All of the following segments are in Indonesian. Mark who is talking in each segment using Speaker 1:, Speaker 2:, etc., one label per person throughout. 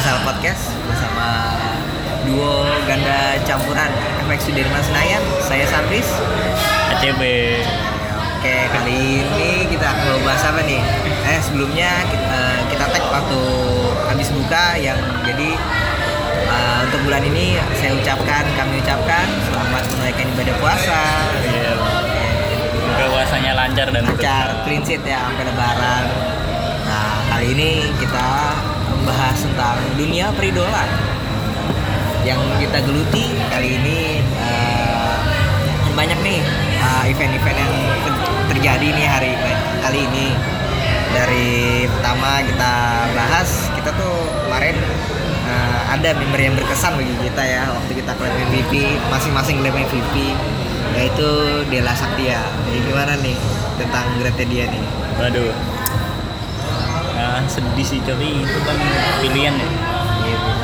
Speaker 1: Ya, eh, podcast bersama duo ganda campuran FX Sudirman Senayan. Saya Sapris.
Speaker 2: ACB
Speaker 1: Oke, kali ini kita akan bahas apa nih? Eh, sebelumnya kita, eh, kita tag waktu habis buka yang jadi eh, untuk bulan ini saya ucapkan, kami ucapkan selamat menunaikan ibadah puasa.
Speaker 2: Iya. Semoga puasanya lancar dan
Speaker 1: lancar, clean sheet ya sampai lebaran. Nah, kali ini kita membahas tentang dunia peridolan yang kita geluti kali ini eh, banyak nih eh, event-event yang ter- terjadi nih hari kali ini dari pertama kita bahas kita tuh kemarin eh, ada member yang berkesan bagi kita ya waktu kita klaim MVP masing-masing klaim MVP yaitu Dela Saktia jadi gimana nih tentang grade dia nih
Speaker 2: Waduh. Nah, sedih sih tapi itu kan pilihan ya.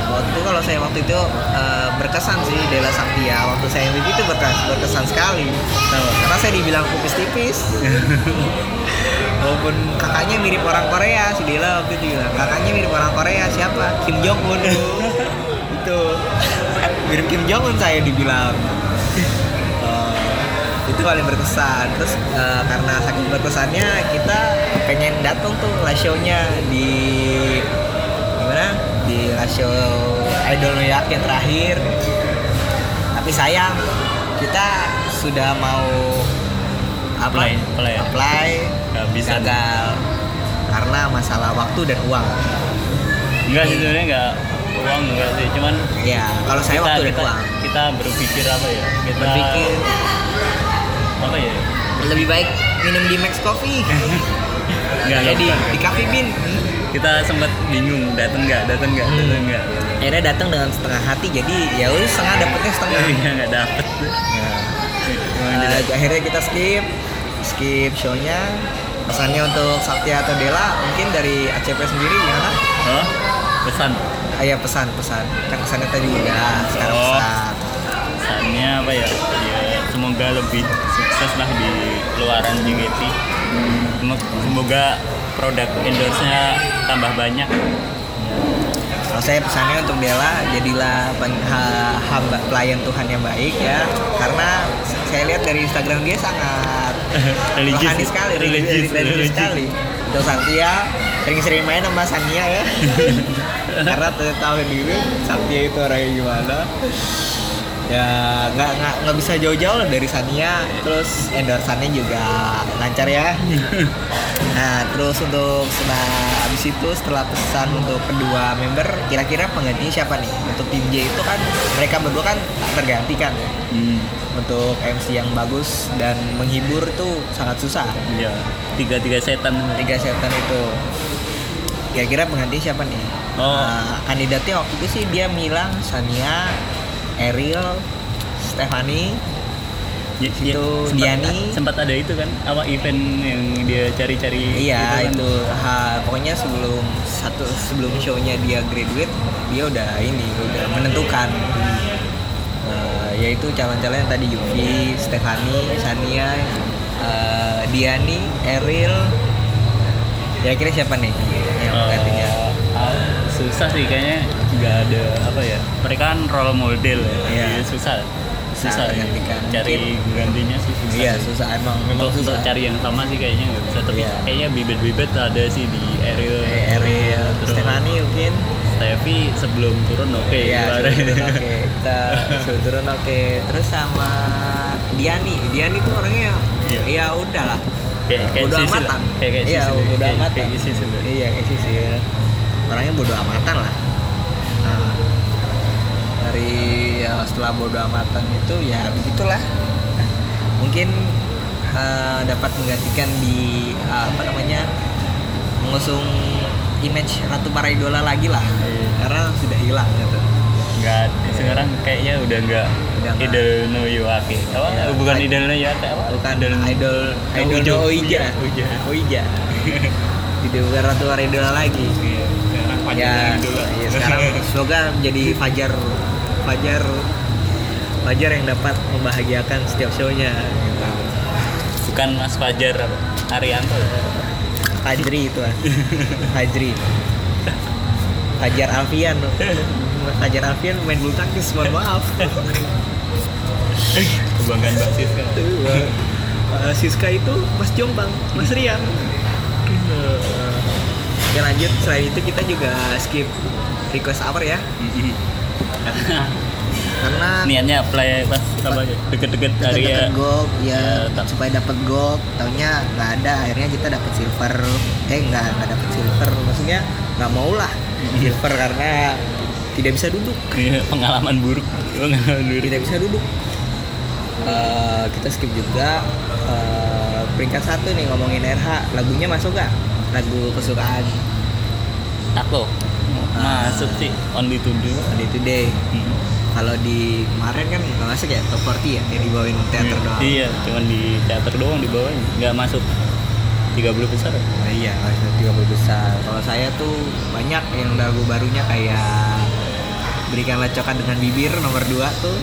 Speaker 1: waktu kalau saya waktu itu eh, berkesan sih Dela Saktia waktu saya MVP itu berkesan, berkesan sekali
Speaker 2: Tahu.
Speaker 1: karena saya dibilang tipis-tipis
Speaker 2: Walaupun
Speaker 1: kakaknya mirip orang Korea si Dela waktu itu bilang kakaknya mirip orang Korea siapa Kim Jong Un itu mirip Kim Jong Un saya dibilang Eh, itu paling berkesan terus eh, karena saking berkesannya kita pengen datang tuh live show-nya di gimana di live show Idol Noyak yang terakhir tapi sayang kita sudah mau apa
Speaker 2: Apply, apply ya?
Speaker 1: apply
Speaker 2: nggak bisa.
Speaker 1: gagal karena masalah waktu dan uang.
Speaker 2: Enggak sih sebenarnya enggak uang enggak sih, cuman
Speaker 1: Ya, kalau saya
Speaker 2: kita,
Speaker 1: waktu dan
Speaker 2: kita,
Speaker 1: uang.
Speaker 2: kita berpikir apa ya? Kita
Speaker 1: Berpikir
Speaker 2: apa ya?
Speaker 1: lebih baik minum di Max Coffee.
Speaker 2: Enggak,
Speaker 1: jadi
Speaker 2: jadi
Speaker 1: di Coffee Bean.
Speaker 2: kita sempat bingung datang enggak, datang enggak, datang
Speaker 1: Hmm.
Speaker 2: enggak.
Speaker 1: Akhirnya datang dengan setengah hati. Jadi ya udah setengah dapetnya setengah. Ya.
Speaker 2: Iya, enggak dapet. Cuman
Speaker 1: Eh,
Speaker 2: jadi-
Speaker 1: akhirnya kita skip skip shownya pesannya untuk Saktia atau Dela mungkin dari ACP sendiri gimana?
Speaker 2: Hah? Pesan.
Speaker 1: Ah, ya pesan pesan kan pesannya tadi udah sekarang
Speaker 2: Oh.
Speaker 1: pesan
Speaker 2: pesannya apa ya? ya semoga lebih sukses lah di luaran JGT Semo- semoga produk endorse-nya tambah banyak
Speaker 1: Kalau saya pesannya untuk Dela, jadilah pen- ha- hamba pelayan Tuhan yang baik ya. Karena saya lihat dari Instagram dia sangat
Speaker 2: religius ya.
Speaker 1: rohani sekali, religius,
Speaker 2: religius, religius.
Speaker 1: sekali. Untuk Satya, sering-sering main sama Sania ya. Karena t- tahu diri Satya itu orangnya gimana. Ya nggak nggak nggak bisa jauh-jauh lah dari Sania. Terus endorsannya juga lancar ya. Nah, terus untuk setelah habis itu setelah pesan untuk kedua member, kira-kira penggantinya siapa nih? Untuk tim J itu kan mereka berdua kan tak tergantikan. ya.
Speaker 2: Hmm,
Speaker 1: Untuk MC yang bagus dan menghibur tuh sangat susah.
Speaker 2: iya. tiga-tiga setan
Speaker 1: Tiga setan itu. Kira-kira penggantinya siapa nih?
Speaker 2: Oh.
Speaker 1: Nah, kandidatnya waktu itu sih dia Milang, Sania, Eril, Stefani,
Speaker 2: Ya, ya,
Speaker 1: Itu
Speaker 2: sempat-
Speaker 1: Diani.
Speaker 2: sempat ada itu kan apa event yang dia cari-cari
Speaker 1: Iya
Speaker 2: kan?
Speaker 1: itu Ha, pokoknya sebelum satu sebelum shownya dia graduate dia udah ini udah menentukan Eh, yaitu calon-calon yang tadi Yufi, Stefani, Sania, eh, Diani, Eril. Kira-kira siapa nih Iya, yang
Speaker 2: Eh,
Speaker 1: penggantinya?
Speaker 2: susah sih kayaknya nggak ada apa ya mereka kan role model ya
Speaker 1: Iya.
Speaker 2: jadi susah susah ya.
Speaker 1: menggantikan.
Speaker 2: cari gantinya sih susah
Speaker 1: Iya susah emang memang
Speaker 2: untuk, untuk
Speaker 1: susah.
Speaker 2: cari yang sama sih kayaknya nggak bisa tapi
Speaker 1: Iya.
Speaker 2: kayaknya bibit-bibit ada sih di Ariel
Speaker 1: Eh, Eril,
Speaker 2: Terus-
Speaker 1: Stefani mungkin.
Speaker 2: Steffi sebelum turun oke
Speaker 1: Iya,
Speaker 2: kemarin.
Speaker 1: suruh turun oke. Kita suruh turun oke. Terus sama Diani. Diani tuh orangnya
Speaker 2: Iya.
Speaker 1: ya udahlah.
Speaker 2: kayak kayak
Speaker 1: bodo
Speaker 2: sisil.
Speaker 1: amatan.
Speaker 2: kayak kayak
Speaker 1: iya,
Speaker 2: sisil.
Speaker 1: bodo
Speaker 2: Kayak-
Speaker 1: amatan.
Speaker 2: kayak sisil.
Speaker 1: Iya, kayak sisil. Orangnya bodo amatan lah. Nah, dari ya, setelah bodo amatan itu ya begitulah. Mungkin eh, dapat menggantikan di eh, apa namanya mengusung image Ratu Para Idola lagi lah.
Speaker 2: Iya.
Speaker 1: Karena sudah hilang gitu.
Speaker 2: nggak sekarang kayaknya udah nggak
Speaker 1: Udah nggak.
Speaker 2: idol no yuake apa
Speaker 1: Iya.
Speaker 2: bukan idol no yuake apa
Speaker 1: bukan idol idol
Speaker 2: Ujo. Iya,
Speaker 1: Oija
Speaker 2: Ujo.
Speaker 1: Oija tidak bukan ratu Aridola lagi
Speaker 2: Iya, sekarang Fajar
Speaker 1: ya,
Speaker 2: idol lah.
Speaker 1: ya sekarang semoga menjadi Fajar Fajar Fajar yang dapat membahagiakan setiap shownya
Speaker 2: bukan Mas Fajar apa? Arianto ya?
Speaker 1: Fajri itu ah. Fajri Fajar Alfian tuh. Fajar Alfian main bulu tangkis, mohon maaf.
Speaker 2: kebanggaan kan? Mbak Siska
Speaker 1: Eh, Siska itu Mas Jombang, Mas Rian. Oke lanjut, selain itu kita juga skip request hour ya.
Speaker 2: Mm-mm.
Speaker 1: Karena
Speaker 2: niatnya apply pas apa deket-deket area
Speaker 1: dapet gold ya,
Speaker 2: Ya, tak-
Speaker 1: supaya dapat gold taunya nggak ada akhirnya kita dapat silver eh nggak nggak dapat silver maksudnya nggak mau lah silver karena tidak bisa duduk
Speaker 2: Iya, pengalaman buruk pengalaman buruk
Speaker 1: tidak bisa duduk Eh, kita skip juga eh, peringkat satu nih ngomongin RH lagunya masuk gak lagu kesukaan
Speaker 2: aku
Speaker 1: Ah.
Speaker 2: masuk sih only to do
Speaker 1: Monday Today kalau di kemarin kan nggak masuk ya top 40 ya yang dibawain teater doang
Speaker 2: iya cuman di teater doang di bawahnya nggak masuk 30 besar
Speaker 1: Nah, iya, masuk 30 besar. Kalau saya tuh banyak yang lagu barunya kayak Berikanlah cokan dengan bibir nomor 2 tuh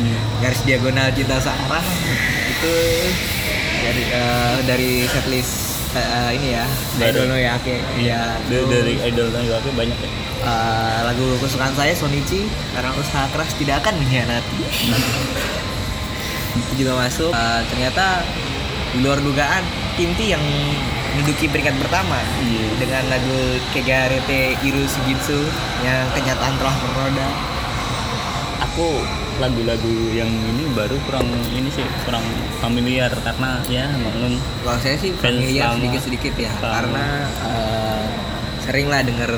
Speaker 2: Iya,
Speaker 1: garis diagonal cinta searah itu dari eh, dari setlist eh, eh, ini ya dari
Speaker 2: Baru.
Speaker 1: Dono ya oke ya
Speaker 2: Dari-
Speaker 1: itu,
Speaker 2: dari idol dan aku banyak ya
Speaker 1: eh, lagu kesukaan saya Sonichi karena usaha keras tidak akan mengkhianati itu juga masuk Eh, ternyata di luar dugaan Kimti yang menduduki peringkat pertama
Speaker 2: Iya.
Speaker 1: dengan lagu Kegarete Iru Sugitsu yang kenyataan telah bernoda
Speaker 2: aku lagu-lagu yang ini baru kurang ini sih kurang familiar karena ya maklum
Speaker 1: kalau saya sih
Speaker 2: Fans
Speaker 1: familiar
Speaker 2: lama.
Speaker 1: sedikit-sedikit ya
Speaker 2: Lama.
Speaker 1: karena eh, sering lah denger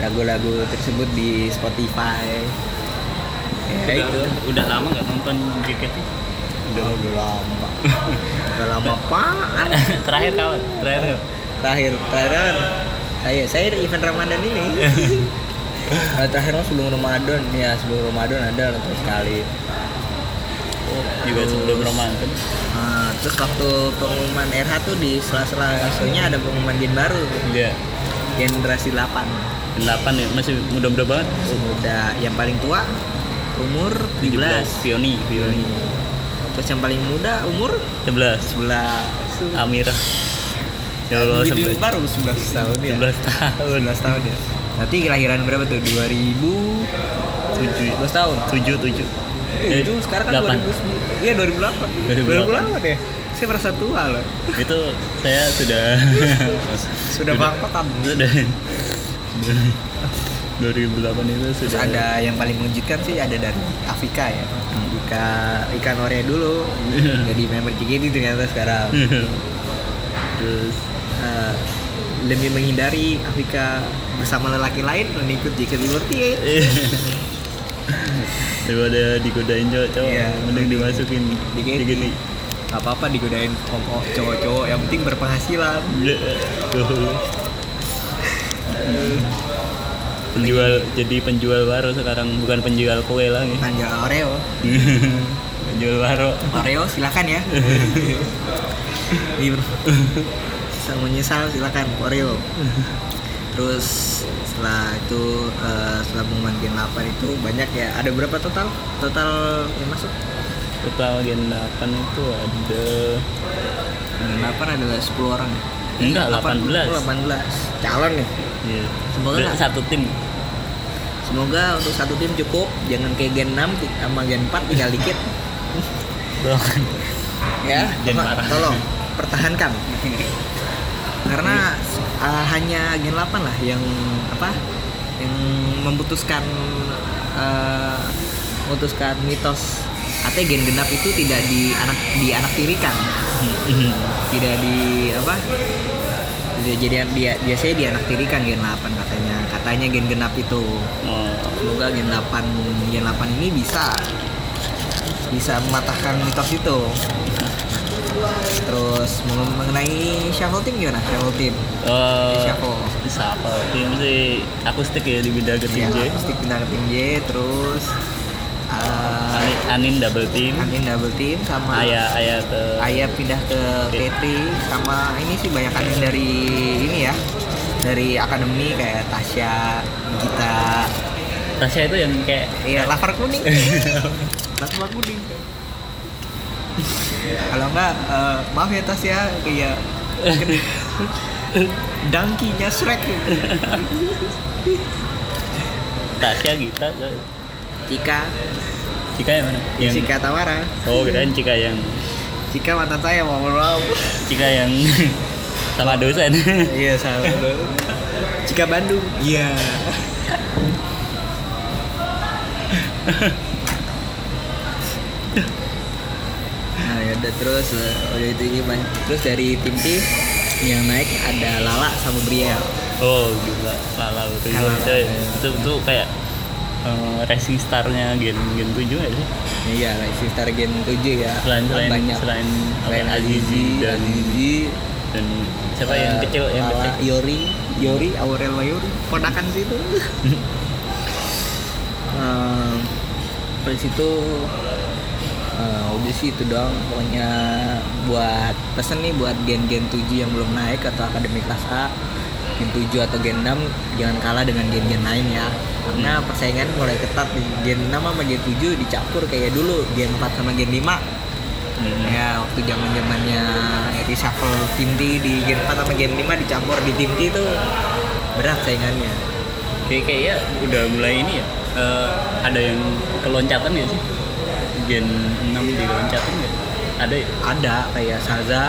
Speaker 1: lagu-lagu tersebut di Spotify ya
Speaker 2: udah,
Speaker 1: itu
Speaker 2: udah lama nggak nonton JKT
Speaker 1: udah, udah lama udah lama apaan
Speaker 2: terakhir kawan terakhir kawan.
Speaker 1: terakhir terakhir kan, saya saya di event Ramadan ini Nah, terakhir kan sebelum Ramadan ya sebelum Ramadan ada nonton sekali
Speaker 2: juga sebelum Ramadan
Speaker 1: Nah, terus waktu pengumuman RH tuh di sela-sela show-nya ada pengumuman gen baru
Speaker 2: ya
Speaker 1: generasi 8
Speaker 2: delapan ya masih muda-muda banget
Speaker 1: udah yang paling tua umur
Speaker 2: 17
Speaker 1: 17
Speaker 2: Pioni Pioni
Speaker 1: terus yang paling muda umur
Speaker 2: 11
Speaker 1: 11
Speaker 2: Amira ya Allah
Speaker 1: Jadi
Speaker 2: sebelas
Speaker 1: baru 11 tahun ya
Speaker 2: 11 tahun
Speaker 1: 11 tahun ya berarti kelahiran berapa tuh 2000
Speaker 2: tujuh
Speaker 1: 11 tahun
Speaker 2: tujuh tujuh
Speaker 1: Eh, itu sekarang kan
Speaker 2: Delapan.
Speaker 1: 2009. Iya 2008.
Speaker 2: 2008.
Speaker 1: 2008 ya. Saya merasa tua loh.
Speaker 2: itu saya sudah
Speaker 1: Sudah bangkotan.
Speaker 2: sudah 2008 itu
Speaker 1: Terus
Speaker 2: sudah
Speaker 1: ada yang paling mengejutkan sih ada dari Afika ya. Afika ikan ore dulu. Jadi member JKT ternyata sekarang.
Speaker 2: Hmm. terus
Speaker 1: Eh, demi menghindari Afika bersama lelaki lain mengikut JKT48.
Speaker 2: eh, daripada digodain cowok-cowok
Speaker 1: Iya.
Speaker 2: mending dimasukin
Speaker 1: Dikit.
Speaker 2: dikit
Speaker 1: Gak apa-apa digodain om- om- cowok-cowok yang penting berpenghasilan.
Speaker 2: penjual jadi penjual waro sekarang bukan penjual kue lagi
Speaker 1: Panjang Oreo.
Speaker 2: penjual waro
Speaker 1: Oreo silakan ya. Iya bro. Saya menyesal silakan Oreo. Terus setelah itu eh, setelah pengumuman Gen 8 itu banyak ya. Ada berapa total? Total yang masuk?
Speaker 2: total gen 8 itu ada
Speaker 1: Gen 8 adalah 10 orang. ya?
Speaker 2: Enggak, 18.
Speaker 1: 18. Calon ya.
Speaker 2: Iya.
Speaker 1: Semoga
Speaker 2: Ber-
Speaker 1: nggak-
Speaker 2: satu tim
Speaker 1: Semoga untuk satu tim cukup, jangan kayak Gen 6 ti- sama Gen 4 tinggal dikit.
Speaker 2: doang
Speaker 1: ya
Speaker 2: Jangan
Speaker 1: tolong-
Speaker 2: marah.
Speaker 1: tolong pertahankan karena uh, hanya Gen 8 lah yang apa yang memutuskan uh, memutuskan mitos katanya gen genap itu tidak di anak di anak tirikan tidak di apa tidak jadi dia biasanya di anak tirikan gen 8 katanya katanya gen genap itu
Speaker 2: oh,
Speaker 1: semoga gen 8 gen 8 ini bisa bisa mematahkan mitos itu terus meng- mengenai shuffle team gimana shuffle team
Speaker 2: eh,
Speaker 1: shuffle
Speaker 2: siapa tim sih akustik ya di bidang ke tim
Speaker 1: ya,
Speaker 2: J
Speaker 1: pasti pindah ke tim J terus uh,
Speaker 2: Anin, Anin double team
Speaker 1: Anin double team sama
Speaker 2: Ayah Ayah ke
Speaker 1: Ayah pindah ke
Speaker 2: Iya.
Speaker 1: PT sama ini sih banyak Anin dari ini ya dari akademi kayak Tasya, Gita,
Speaker 2: Tasya itu yang kayak
Speaker 1: Iya, lavar kuning. lavar kuning. Kalau enggak, eh, maaf ya Tas ya, kayak dangkinya Shrek.
Speaker 2: Tasya Gita ke-
Speaker 1: Cika,
Speaker 2: Cika yang mana? Yang
Speaker 1: Cika Tawara,
Speaker 2: Oh, kirain Cika yang
Speaker 1: Cika mantan saya mau maaf.
Speaker 2: Cika yang sama dosen.
Speaker 1: Iya sama. Cika Bandung. Iya. nah ya udah terus eh, udah itu ini Bang. terus dari tim T yang naik ada Lala sama Briel.
Speaker 2: oh, gila. Lalau itu.
Speaker 1: Lalau.
Speaker 2: Itu, itu, itu kayak eh, racing starnya Gen Gen 7 ya sih.
Speaker 1: Iya, Rising Star Gen 7 ya.
Speaker 2: Selain selain
Speaker 1: banyak.
Speaker 2: selain, apa,
Speaker 1: Selain
Speaker 2: Azizi dan
Speaker 1: Azizi,
Speaker 2: dan siapa
Speaker 1: eh, iya.
Speaker 2: yang kecil yang
Speaker 1: Lala,
Speaker 2: kecil?
Speaker 1: Yori, Yori, Aurel Yori, ponakan situ. Ehm, Terus itu eh, udah sih itu doang pokoknya buat pesen nih buat gen-gen 7 yang belum naik atau akademi kelas A gen 7 atau gen 6 jangan kalah dengan gen-gen lain ya karena
Speaker 2: Hmm.
Speaker 1: persaingan mulai ketat di gen 6 sama gen 7 dicampur kayak dulu gen 4 sama gen 5
Speaker 2: Hmm.
Speaker 1: ya waktu zaman zamannya reshuffle tim T di gen 4 sama gen 5 dicampur di tim T itu berat saingannya
Speaker 2: Kayak kayaknya udah mulai ini ya. eh, ada yang keloncatan ya sih? Gen 6 diloncatan nggak? Ada ya?
Speaker 1: ada kayak Saza,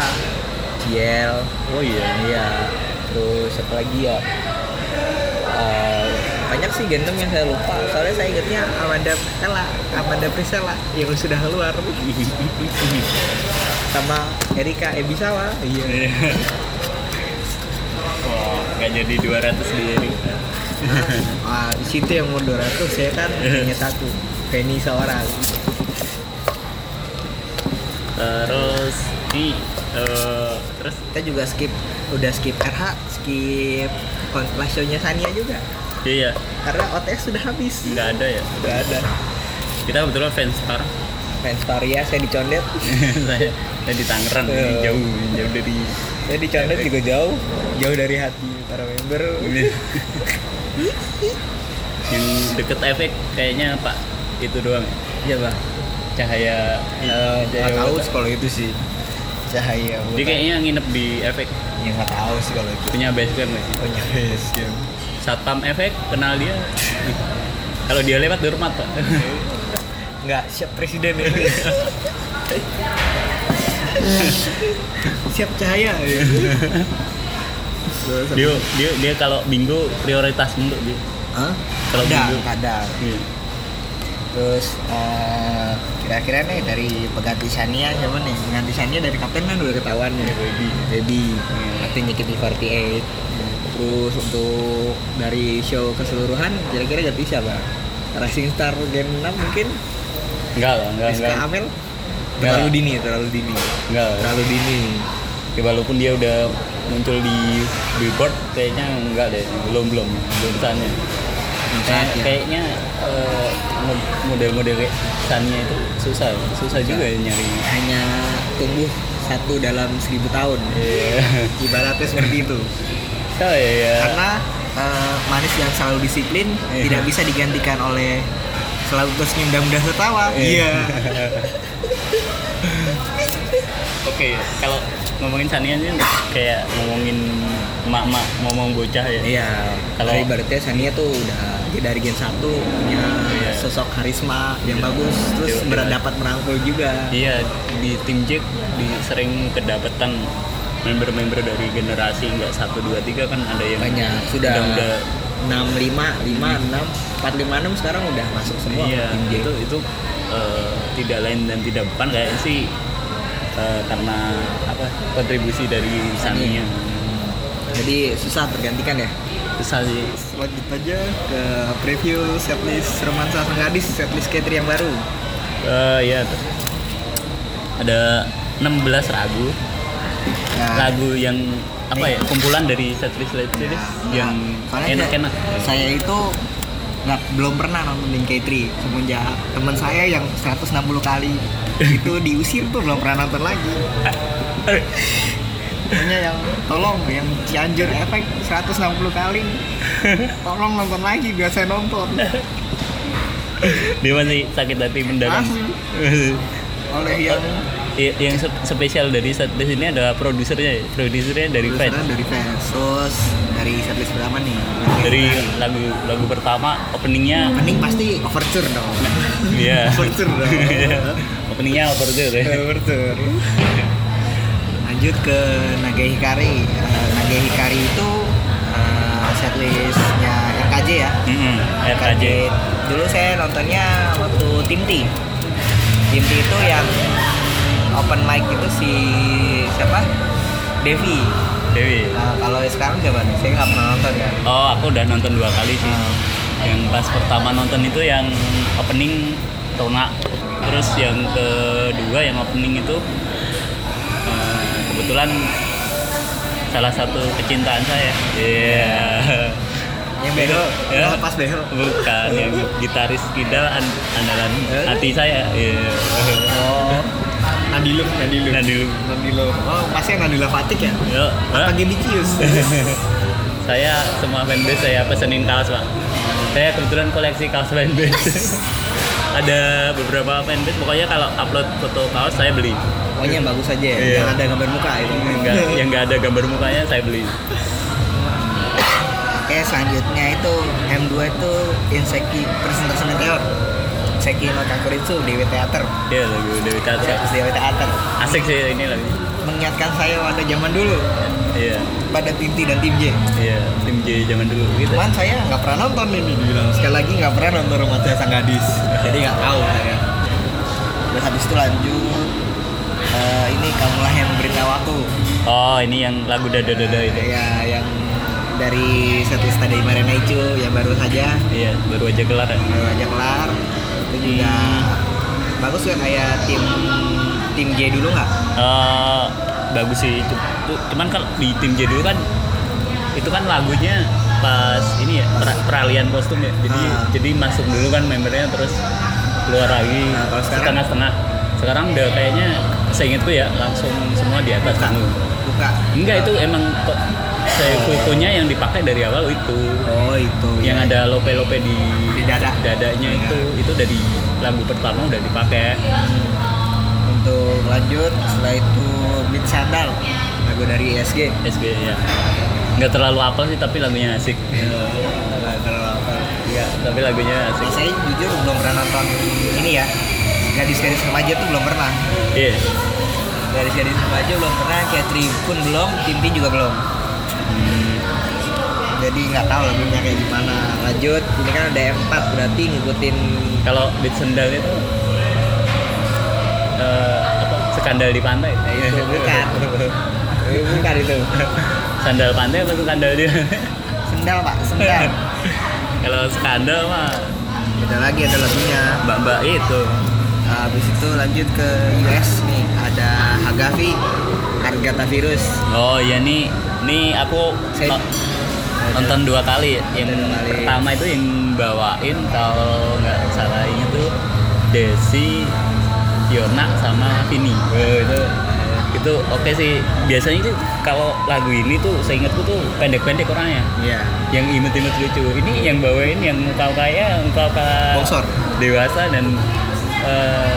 Speaker 1: Ciel,
Speaker 2: Oh iya.
Speaker 1: iya terus apa lagi ya Eh, banyak sih gendong yang saya lupa soalnya saya ingetnya Amanda Priscilla Amanda Priscilla yang sudah keluar sama Erika Ebisawa iya
Speaker 2: Wah, nggak jadi 200 di ini.
Speaker 1: Wah, di situ yang mau 200 saya kan inget aku Penny seorang
Speaker 2: Terus ini eh, terus
Speaker 1: kita juga skip udah skip RH skip kon- live show-nya Sania juga
Speaker 2: iya
Speaker 1: karena OTS sudah habis
Speaker 2: nggak ada ya.
Speaker 1: Nggak ada
Speaker 2: Kita kebetulan fanstar.
Speaker 1: fans Toria ya, saya dicondet
Speaker 2: saya Iya. saya di Tangerang ini
Speaker 1: Eh.
Speaker 2: jauh jauh dari
Speaker 1: saya dicondet juga jauh jauh dari hati para member
Speaker 2: yang deket efek kayaknya Pak itu doang ya?
Speaker 1: iya bang
Speaker 2: cahaya
Speaker 1: Eh,
Speaker 2: cahaya
Speaker 1: nggak tahu
Speaker 2: Wata.
Speaker 1: sih kalau itu sih cahaya
Speaker 2: dia kayaknya nginep di efek
Speaker 1: ya nggak tahu sih kalau itu
Speaker 2: punya basecamp nggak sih
Speaker 1: punya basecamp
Speaker 2: satpam efek kenal dia kalau dia lewat di rumah pak
Speaker 1: nggak siap presiden ya siap cahaya ya.
Speaker 2: dia dia dia kalau bingo prioritas untuk dia
Speaker 1: Hah?
Speaker 2: Kalau
Speaker 1: kadang,
Speaker 2: dulu.
Speaker 1: kadang.
Speaker 2: Iya.
Speaker 1: Terus eh, kira-kira nih dari pengganti Shania siapa nih? Pengganti Shania dari kapten kan udah ketahuan nih. Baby. Baby.
Speaker 2: Hmm.
Speaker 1: Nanti JKT48. Terus untuk dari show keseluruhan kira-kira ganti siapa? Racing Star Gen 6 mungkin?
Speaker 2: enggak lah enggak
Speaker 1: SK
Speaker 2: enggak
Speaker 1: Amel?
Speaker 2: Enggak.
Speaker 1: Terlalu dini, terlalu dini.
Speaker 2: enggak lah.
Speaker 1: Terlalu dini.
Speaker 2: Ya, walaupun dia udah muncul di billboard kayaknya enggak deh belum belum belum kesannya Kayak-
Speaker 1: Saatnya.
Speaker 2: kayaknya eh, mod- model-model kayak kesannya itu susah susah juga ya nyari
Speaker 1: Hanya tumbuh satu dalam seribu tahun.
Speaker 2: Iya.
Speaker 1: Ibaratnya seperti itu.
Speaker 2: Tahu ya, ya
Speaker 1: karena eh, manis yang selalu disiplin
Speaker 2: Iya.
Speaker 1: tidak bisa digantikan oleh selalu tersenyum dan mudah tertawa. Iya.
Speaker 2: Oke, kalau ngomongin Sania sih kayak ngomongin emak-emak ngomong bocah ya.
Speaker 1: Iya. Kalau
Speaker 2: Kalau-
Speaker 1: ibaratnya Sania tuh udah dari gen 1 punya
Speaker 2: Iya.
Speaker 1: sosok karisma yang bagus terus
Speaker 2: Iya,
Speaker 1: ber-
Speaker 2: iya.
Speaker 1: dapat merangkul juga.
Speaker 2: Iya, di tim Jack di sering kedapetan member-member dari generasi nggak satu dua tiga kan ada yang
Speaker 1: Banyak sudah
Speaker 2: udah, udah
Speaker 1: 6 5 5 6 4 5 6 sekarang udah masuk semua
Speaker 2: iya
Speaker 1: tim J.
Speaker 2: itu itu eh, tidak lain dan tidak bukan kayak sih eh, karena apa kontribusi dari Sania
Speaker 1: Iya. Jadi susah tergantikan ya.
Speaker 2: besar sih
Speaker 1: Lanjut aja ke preview setlist romansa sang gadis setlist K3 yang baru.
Speaker 2: Eh, ya ada 16 lagu
Speaker 1: Nah,
Speaker 2: lagu yang apa ya kumpulan dari setlist setlist yang
Speaker 1: enak
Speaker 2: Iya, enak-enak
Speaker 1: Iya. Saya itu nggak belum pernah nonton Link K3 semenjak teman saya yang 160 kali itu diusir tuh belum pernah nonton lagi. Pokoknya yang tolong yang Cianjur efek 160 kali tolong nonton lagi biar saya nonton.
Speaker 2: dia masih sakit hati mendalam
Speaker 1: Asli. Oleh yang
Speaker 2: i- yang se- spesial dari setlist ini adalah produsernya ya. Produsernya dari Fred.
Speaker 1: Produsernya dari fans terus dari setlist berapa nih
Speaker 2: Dari lagu lagu pertama openingnya
Speaker 1: mending pasti overture dong
Speaker 2: ya.
Speaker 1: overture dong
Speaker 2: Iya.
Speaker 1: Iya.
Speaker 2: openingnya overture ya.
Speaker 1: overture lanjut ke Nage Hikari Eh, Nage Hikari itu eh, setlistnya RKJ ya
Speaker 2: Mm-mm, RKJ.
Speaker 1: Kaget. Dulu saya nontonnya waktu Tim T. Tim T itu yang open mic itu si siapa? Devi.
Speaker 2: Dewi.
Speaker 1: Nah, kalau sekarang siapa? nih? Saya nggak pernah nonton ya.
Speaker 2: Oh, aku udah nonton dua kali sih. Yang pas pertama nonton itu yang opening Tona. Terus yang kedua yang opening itu eh, kebetulan salah satu kecintaan saya. Iya.
Speaker 1: Yang bego,
Speaker 2: Ya.
Speaker 1: yang lepas bego.
Speaker 2: Bukan yang gitaris kidal an- andalan hati saya. Iya.
Speaker 1: Oh, Nadilum, Nadilum.
Speaker 2: Nah dulu.
Speaker 1: Nadilum. Oh, pasti yang Nadila Fatik ya?
Speaker 2: Yuk, Pak.
Speaker 1: Pagi dicius.
Speaker 2: saya semua fanbase saya pesenin kaos pak saya kebetulan koleksi kaos fanbase ada beberapa fanbase pokoknya kalau upload foto kaos saya beli
Speaker 1: Pokoknya yang bagus aja ya,
Speaker 2: Iya.
Speaker 1: yang ada gambar muka itu.
Speaker 2: yang nggak yang nggak ada gambar mukanya saya beli
Speaker 1: Oke, selanjutnya itu M2 itu Inseki Presentasi Meteor. Seki no Kakuritsu Dewi Theater.
Speaker 2: ya lagu Dewi Tatsa
Speaker 1: Terus Dewi Theater.
Speaker 2: asik sih ini lagu
Speaker 1: mengingatkan saya pada zaman dulu
Speaker 2: iya
Speaker 1: pada tim T dan tim J.
Speaker 2: iya tim J zaman dulu gitu
Speaker 1: Cuman saya nggak pernah nonton ini dibilang sekali lagi nggak pernah nonton rumah saya sang gadis, jadi nggak tahu saya. Terus habis itu lanjut eh, ini kamulah yang memberitahu aku
Speaker 2: oh ini yang lagu dada dada itu
Speaker 1: ya yang dari satu stadion Marina Icu yang baru saja
Speaker 2: iya baru aja kelar ya.
Speaker 1: baru aja kelar itu juga bagus ya kayak tim tim J dulu nggak?
Speaker 2: Eh, bagus sih itu cuman kalau di tim J dulu kan itu kan lagunya pas ini ya per- peralihan kostum ya jadi
Speaker 1: Ah.
Speaker 2: jadi masuk dulu kan membernya terus keluar lagi
Speaker 1: Nah, kalau sekarang?
Speaker 2: setengah setengah sekarang udah kayaknya seingetku ya langsung semua di atas
Speaker 1: Buka,
Speaker 2: dulu
Speaker 1: buka.
Speaker 2: enggak itu emang kok saya fotonya yang dipakai dari awal itu
Speaker 1: Oh itu.
Speaker 2: yang
Speaker 1: ya.
Speaker 2: ada lope lope di,
Speaker 1: Di dada.
Speaker 2: dadanya
Speaker 1: Iya.
Speaker 2: itu itu dari lagu pertama udah dipakai
Speaker 1: untuk lanjut setelah itu Beat Sandal lagu dari E ISG
Speaker 2: SB ya nggak terlalu apa sih tapi lagunya asik Iya,
Speaker 1: ya
Speaker 2: tapi lagunya asik
Speaker 1: saya jujur belum pernah nonton ini ya gadis-gadis remaja tuh belum pernah
Speaker 2: iya
Speaker 1: gadis-gadis remaja belum pernah kayak Tribun belum Tim T juga belum
Speaker 2: Hmm,
Speaker 1: jadi nggak tahu lagunya kayak gimana lanjut ini kan ada M4 berarti ngikutin
Speaker 2: kalau beat sendal itu eh, apa skandal di pantai
Speaker 1: ya itu bukan Eh, bukan itu
Speaker 2: sandal pantai apa skandal dia
Speaker 1: sendal pak sendal
Speaker 2: kalau skandal mah
Speaker 1: beda lagi ada lagunya
Speaker 2: mbak mbak itu
Speaker 1: Nah, Habis itu lanjut ke US nih ada Hagafi, Hargata Virus.
Speaker 2: oh ya nih nih aku
Speaker 1: Saya-
Speaker 2: no- nonton dua kali yang
Speaker 1: Nonton dua kali.
Speaker 2: pertama itu yang bawain kalau nggak salah ingat tuh Desi Yona sama Vini Wah, itu itu oke sih biasanya tuh kalau lagu ini tuh seingatku tuh pendek-pendek orangnya
Speaker 1: Iya.
Speaker 2: yang imut-imut lucu ini yang bawain yang muka kaya muka kaya
Speaker 1: Bongsor.
Speaker 2: dewasa dan eh,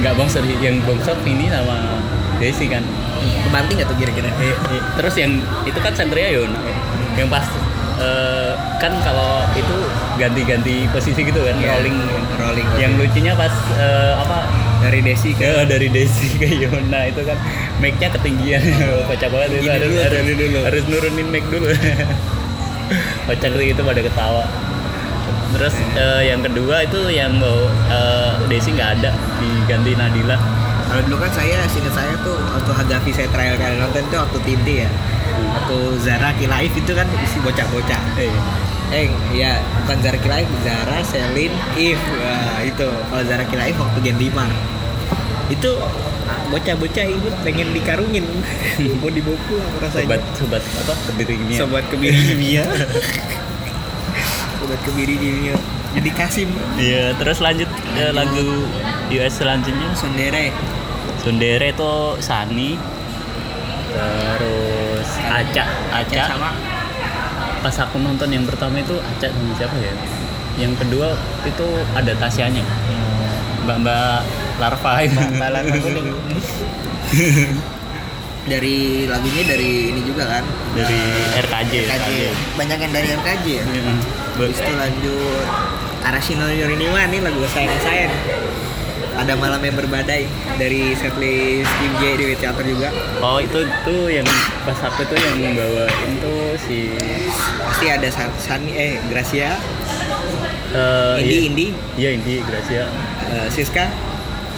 Speaker 2: nggak bongsor sih yang bongsor ini sama Desi kan
Speaker 1: Kebanting nggak tuh kira-kira?
Speaker 2: Eh, eh, terus yang itu kan senternya Yona ya. yang pas eh, kan kalau itu ganti-ganti posisi gitu kan
Speaker 1: Iya.
Speaker 2: rolling
Speaker 1: Rolling.
Speaker 2: yang lucunya pas eh, apa
Speaker 1: dari Desi ke
Speaker 2: ya, dari Desi ke Yona itu kan mic-nya ketinggian kocak banget itu
Speaker 1: Gini
Speaker 2: harus
Speaker 1: dulu,
Speaker 2: harus,
Speaker 1: gini dulu.
Speaker 2: harus nurunin mic dulu kocak sih itu pada ketawa terus eh, yang kedua itu yang mau eh, Desi nggak ada diganti Nadila
Speaker 1: Kalau dulu kan saya singkat saya tuh waktu Hagafi saya trial kali nonton tuh waktu Tinti ya. Waktu Zara Kilaif itu kan isi bocah-bocah.
Speaker 2: eh,
Speaker 1: Eh, ya bukan Zara Kilaif, Zara Selin If. Wah, itu. Kalau Zara Kilaif waktu Gen 5. Itu bocah-bocah ikut pengen dikarungin mau dibawa pulang rasanya
Speaker 2: sobat sobat apa ya. kebiringan
Speaker 1: sobat kebiri kimia sobat kebiri kimia jadi kasim
Speaker 2: Iya, terus lanjut ke lagu US selanjutnya
Speaker 1: sondere
Speaker 2: Sundere itu Sani terus Aca Aca
Speaker 1: sama
Speaker 2: pas aku nonton yang pertama itu Aca sama siapa ya yang kedua itu
Speaker 1: Hmm.
Speaker 2: ada Tasyanya mbak mbak larva itu
Speaker 1: balan kuning dari lagunya dari ini juga kan
Speaker 2: dari
Speaker 1: Eh,
Speaker 2: RKJ
Speaker 1: RKJ banyak yang dari RKJ ya
Speaker 2: Iya.
Speaker 1: Habis itu lanjut Arasino Yuriniwa nih lagu kesayangan saya nih. Ada malam yang berbadai dari setlist Kim J di Wit Theater juga.
Speaker 2: oh itu tuh yang pas aku tuh yang bawa itu si
Speaker 1: Pasti ada San- Sani eh Gracia,
Speaker 2: eh,
Speaker 1: Indi
Speaker 2: iya-
Speaker 1: Indi,
Speaker 2: iya Indi Gracia
Speaker 1: eh, Siska,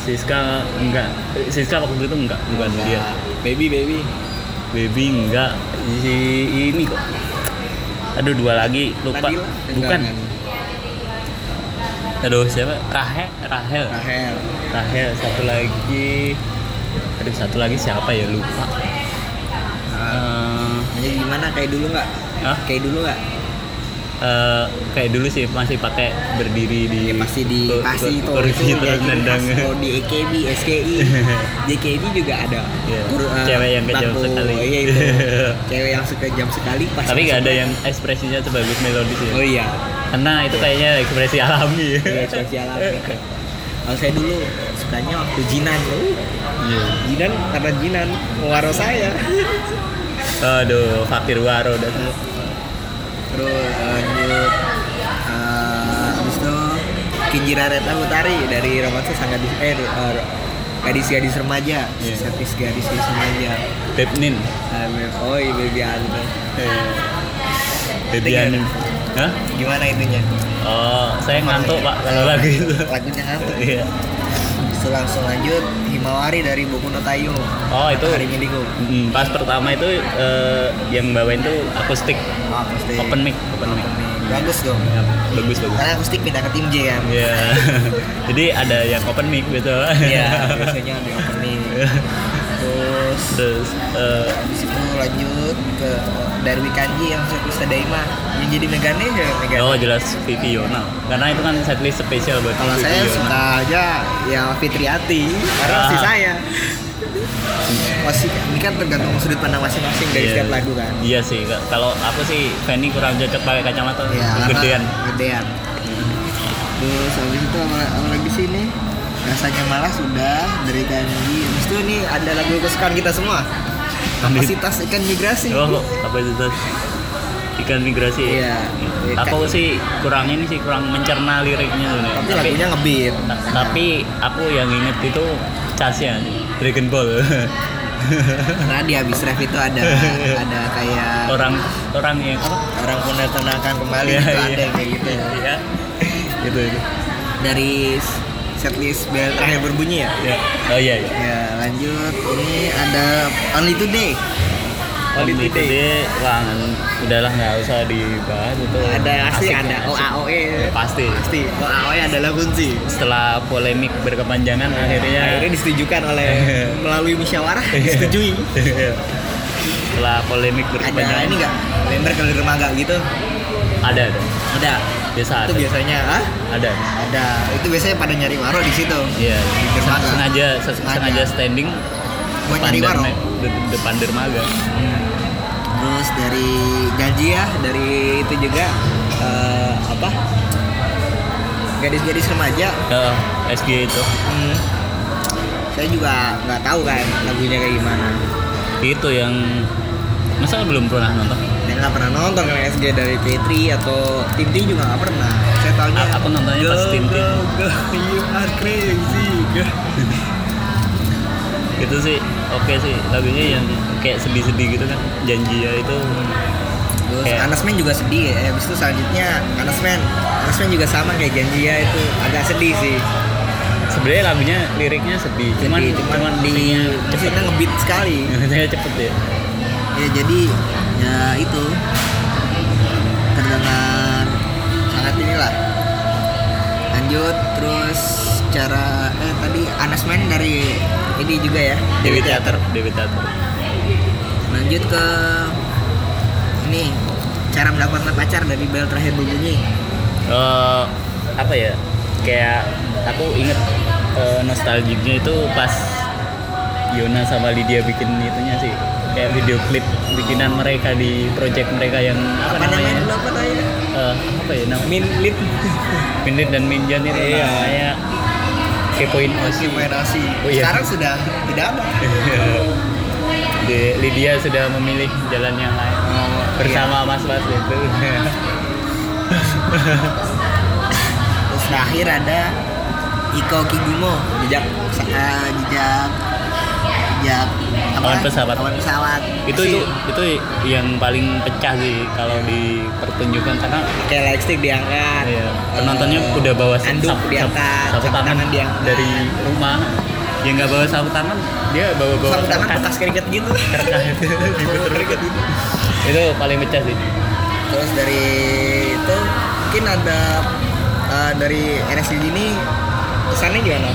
Speaker 2: Siska enggak Siska waktu itu enggak bukan dia
Speaker 1: ada Baby Baby.
Speaker 2: Baby enggak si ini kok aduh dua lagi lupa
Speaker 1: Nadila.
Speaker 2: bukan
Speaker 1: Enggak, enggak.
Speaker 2: aduh siapa Rahel Rahel
Speaker 1: Rahel.
Speaker 2: Rahel satu lagi aduh satu lagi siapa ya lupa
Speaker 1: Ah,
Speaker 2: Eh,
Speaker 1: Jadi gimana kayak dulu nggak?
Speaker 2: Hah?
Speaker 1: Kayak dulu nggak?
Speaker 2: eh, kayak dulu sih masih pakai berdiri di
Speaker 1: Ya pasti di
Speaker 2: kur-
Speaker 1: pasti itu Iya,
Speaker 2: kur- kursi
Speaker 1: itu
Speaker 2: terus
Speaker 1: jadi
Speaker 2: nendang
Speaker 1: khas kalau di EKB, SKI, JKB juga ada.
Speaker 2: Iya.
Speaker 1: Kur- eh,
Speaker 2: Cewek yang kejam
Speaker 1: bangku.
Speaker 2: sekali.
Speaker 1: Iya itu. Cewek yang sekejam sekali pasti.
Speaker 2: tapi nggak
Speaker 1: masuk
Speaker 2: ada yang ekspresinya sebagus melodi sih
Speaker 1: Oh iya,
Speaker 2: karena itu kayaknya ekspresi alami
Speaker 1: iya sosial Kalau saya dulu sukanya waktu Jinan. Uh,
Speaker 2: Iya.
Speaker 1: Jinan karena Jinan mewaro saya.
Speaker 2: aduh Fakir Waro dan
Speaker 1: Terus lanjut eh, habis itu Kinjira Retna Utari dari romansa sang gadis eh eh, gadis-gadis remaja,
Speaker 2: Iya.
Speaker 1: gadis gadis remaja.
Speaker 2: Pepnin
Speaker 1: Eh, Oi baby Aldo. Eh,
Speaker 2: Baby
Speaker 1: Dengar.
Speaker 2: Anim Hah?
Speaker 1: Gimana itunya?
Speaker 2: Oh, saya ngantuk pak kalau lagu itu.
Speaker 1: Lagunya ngantuk.
Speaker 2: Iya.
Speaker 1: Habis itu langsung lanjut Himawari dari Boku no Tayo.
Speaker 2: Oh itu
Speaker 1: Hari Minggu.
Speaker 2: mm, pas pertama itu eh, yang bawain tuh akustik
Speaker 1: Oh, pasti.
Speaker 2: open mic, open mic.
Speaker 1: Bagus dong.
Speaker 2: Ya, bagus bagus.
Speaker 1: Karena akustik pindah ke tim J kan.
Speaker 2: Iya. Jadi ada yang open mic gitu.
Speaker 1: Iya, biasanya di opening. Terus
Speaker 2: Terus eh,
Speaker 1: habis itu lanjut ke Darwi Kanji yang bisa Daima yang jadi Megane ya Megane.
Speaker 2: oh jelas Vivi Yona. Karena itu kan setlist spesial buat
Speaker 1: Kalau
Speaker 2: Vivi
Speaker 1: saya
Speaker 2: Yona.
Speaker 1: suka aja ya Fitriati karena
Speaker 2: Iya. Ah.
Speaker 1: masih saya. Masih ini kan tergantung sudut pandang masing-masing dari
Speaker 2: Iya.
Speaker 1: setiap lagu kan.
Speaker 2: Iya sih. Kalau aku sih Fanny kurang cocok pakai kacamata
Speaker 1: Iya, karena
Speaker 2: gedean.
Speaker 1: Gedean. Terus habis itu apa, apa lagi sih ini? Rasanya malah sudah dari Kanji. Habis itu nih ada lagu kesukaan kita semua. Kapasitas ikan migrasi.
Speaker 2: Oh, apa itu tuh? Ikan migrasi. Gitu.
Speaker 1: Iya.
Speaker 2: Aku sih kurang ini sih kurang mencerna liriknya tuh. Nek.
Speaker 1: Tapi lagunya ngebeat.
Speaker 2: ta- Nah, tapi aku yang inget itu casnya Dragon Ball.
Speaker 1: Karena di habis ref itu ada ada kayak
Speaker 2: orang orang yang apa?
Speaker 1: orang pun datangkan kembali
Speaker 2: Iya,
Speaker 1: itu
Speaker 2: iya.
Speaker 1: ada yang kayak Oh, gitu.
Speaker 2: Iya. Gitu itu.
Speaker 1: Dari setlist bel terakhir berbunyi ya.
Speaker 2: Ya. Oh iya. iya.
Speaker 1: Ya lanjut ini ada Only Today. Oh,
Speaker 2: Om itu deh, wah, udahlah nggak usah dibahas itu.
Speaker 1: Ada asli
Speaker 2: Asik,
Speaker 1: ada Oh,
Speaker 2: asik.
Speaker 1: OAOE.
Speaker 2: Pasti.
Speaker 1: kan? Ya, pasti OAOE E adalah kunci
Speaker 2: Setelah polemik berkepanjangan akhirnya
Speaker 1: akhirnya disetujukan oleh melalui musyawarah disetujui
Speaker 2: setelah polemik
Speaker 1: ada
Speaker 2: berkepanjangan
Speaker 1: ini nggak member kalau di remaga gitu
Speaker 2: ada ada.
Speaker 1: ada
Speaker 2: biasa
Speaker 1: itu
Speaker 2: ada.
Speaker 1: biasanya ah
Speaker 2: ada
Speaker 1: ada itu biasanya pada nyari waro di situ
Speaker 2: iya
Speaker 1: dermaga.
Speaker 2: sengaja se-
Speaker 1: Sengaja.
Speaker 2: sengaja standing
Speaker 1: buat nyari
Speaker 2: depan
Speaker 1: waro
Speaker 2: derma- de- depan dermaga
Speaker 1: terus dari janji ya dari itu juga eh, apa gadis-gadis remaja
Speaker 2: Eh, SG itu
Speaker 1: hmm, saya juga nggak tahu kan lagunya kayak gimana
Speaker 2: itu yang masa belum pernah nonton
Speaker 1: Saya nggak pernah nonton kan SG dari Petri atau Tim Tim juga nggak pernah. Saya tahunya
Speaker 2: A- aku nontonnya pas
Speaker 1: Go,
Speaker 2: Tim Tim.
Speaker 1: Go, go, you are crazy. Go.
Speaker 2: itu sih oke sih lagunya yang kayak sedih-sedih gitu kan janji ya itu
Speaker 1: Terus
Speaker 2: Kayak-
Speaker 1: Anasman juga sedih. Eh, habis itu selanjutnya Anasman, Anasman juga sama kayak Janji ya itu agak sedih sih.
Speaker 2: sebenarnya lagunya liriknya sedih cuman
Speaker 1: Sedih,
Speaker 2: cuman,
Speaker 1: di musiknya ngebeat sekali.
Speaker 2: musiknya cepet ya
Speaker 1: ya jadi ya itu terdengar sangat inilah lanjut terus cara eh tadi Anasman dari ini juga ya
Speaker 2: Dewi Theater Dewi Theater
Speaker 1: lanjut ke ini cara mendapatkan pacar dari bel terakhir berbunyi
Speaker 2: Eh, apa ya kayak aku inget eh, nostalgiknya itu pas Yona sama Lydia bikin itunya sih kayak video klip bikinan mereka di project mereka yang apa,
Speaker 1: apa, namanya
Speaker 2: namanya
Speaker 1: dulu apa namanya
Speaker 2: Eh, apa ya namanya
Speaker 1: min lip
Speaker 2: Minlit dan Minjan itu
Speaker 1: Iya.
Speaker 2: namanya kepoin Osi.
Speaker 1: Kepoin Osi.
Speaker 2: Oh, iya.
Speaker 1: Sekarang sudah tidak ada.
Speaker 2: Di- Lydia sudah memilih jalan yang lain Oh,
Speaker 1: Iya,
Speaker 2: bersama Mas Bas itu.
Speaker 1: Terus terakhir ada Iko Kigumo jejak eh, jejak jejak apa?
Speaker 2: Kawan pesawat.
Speaker 1: Kawan pesawat.
Speaker 2: itu
Speaker 1: Si-
Speaker 2: itu itu yang paling pecah sih kalau di pertunjukan karena
Speaker 1: kayak lightstick diangkat.
Speaker 2: ya,
Speaker 1: Eh,
Speaker 2: penontonnya udah bawa sap-
Speaker 1: anduk
Speaker 2: sap- sap-
Speaker 1: diangkat,
Speaker 2: sapu tangan,
Speaker 1: diangkat.
Speaker 2: dari rumah. Yang nggak bawa sapu tangan dia bawa bawa
Speaker 1: sapu tangan bekas keringet gitu. keringet gitu.
Speaker 2: itu paling pecah sih.
Speaker 1: Terus dari itu mungkin ada eh, dari NSD ini pesannya gimana?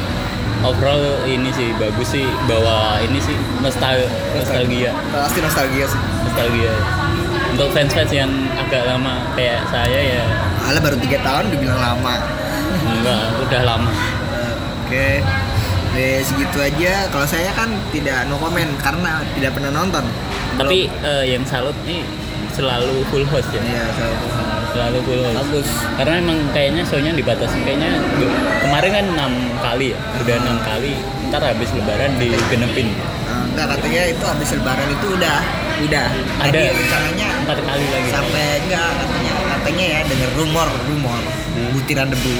Speaker 2: Overall ini sih bagus sih bawa ini sih nostal nostalgia
Speaker 1: Pasti nostalgia sih.
Speaker 2: nostalgia untuk fans-fans yang agak lama kayak saya ya
Speaker 1: Alah baru tiga tahun dibilang lama.
Speaker 2: enggak udah lama
Speaker 1: Eh, Oke. Dari segitu aja. Kalau saya kan tidak no comment karena tidak pernah nonton.
Speaker 2: tapi eh, yang salut nih selalu full host ya
Speaker 1: Belum. Iya, so-
Speaker 2: selalu full host
Speaker 1: bagus.
Speaker 2: karena emang kayaknya show-nya dibatasi kayaknya du- kemarin kan enam kali ya udah enam kali ntar habis lebaran digenepin
Speaker 1: Eh, enggak katanya itu habis lebaran itu udah udah.
Speaker 2: ada
Speaker 1: Tadi rencananya
Speaker 2: empat kali lagi
Speaker 1: sampai enggak katanya katanya ya dengar rumor rumor butiran debu.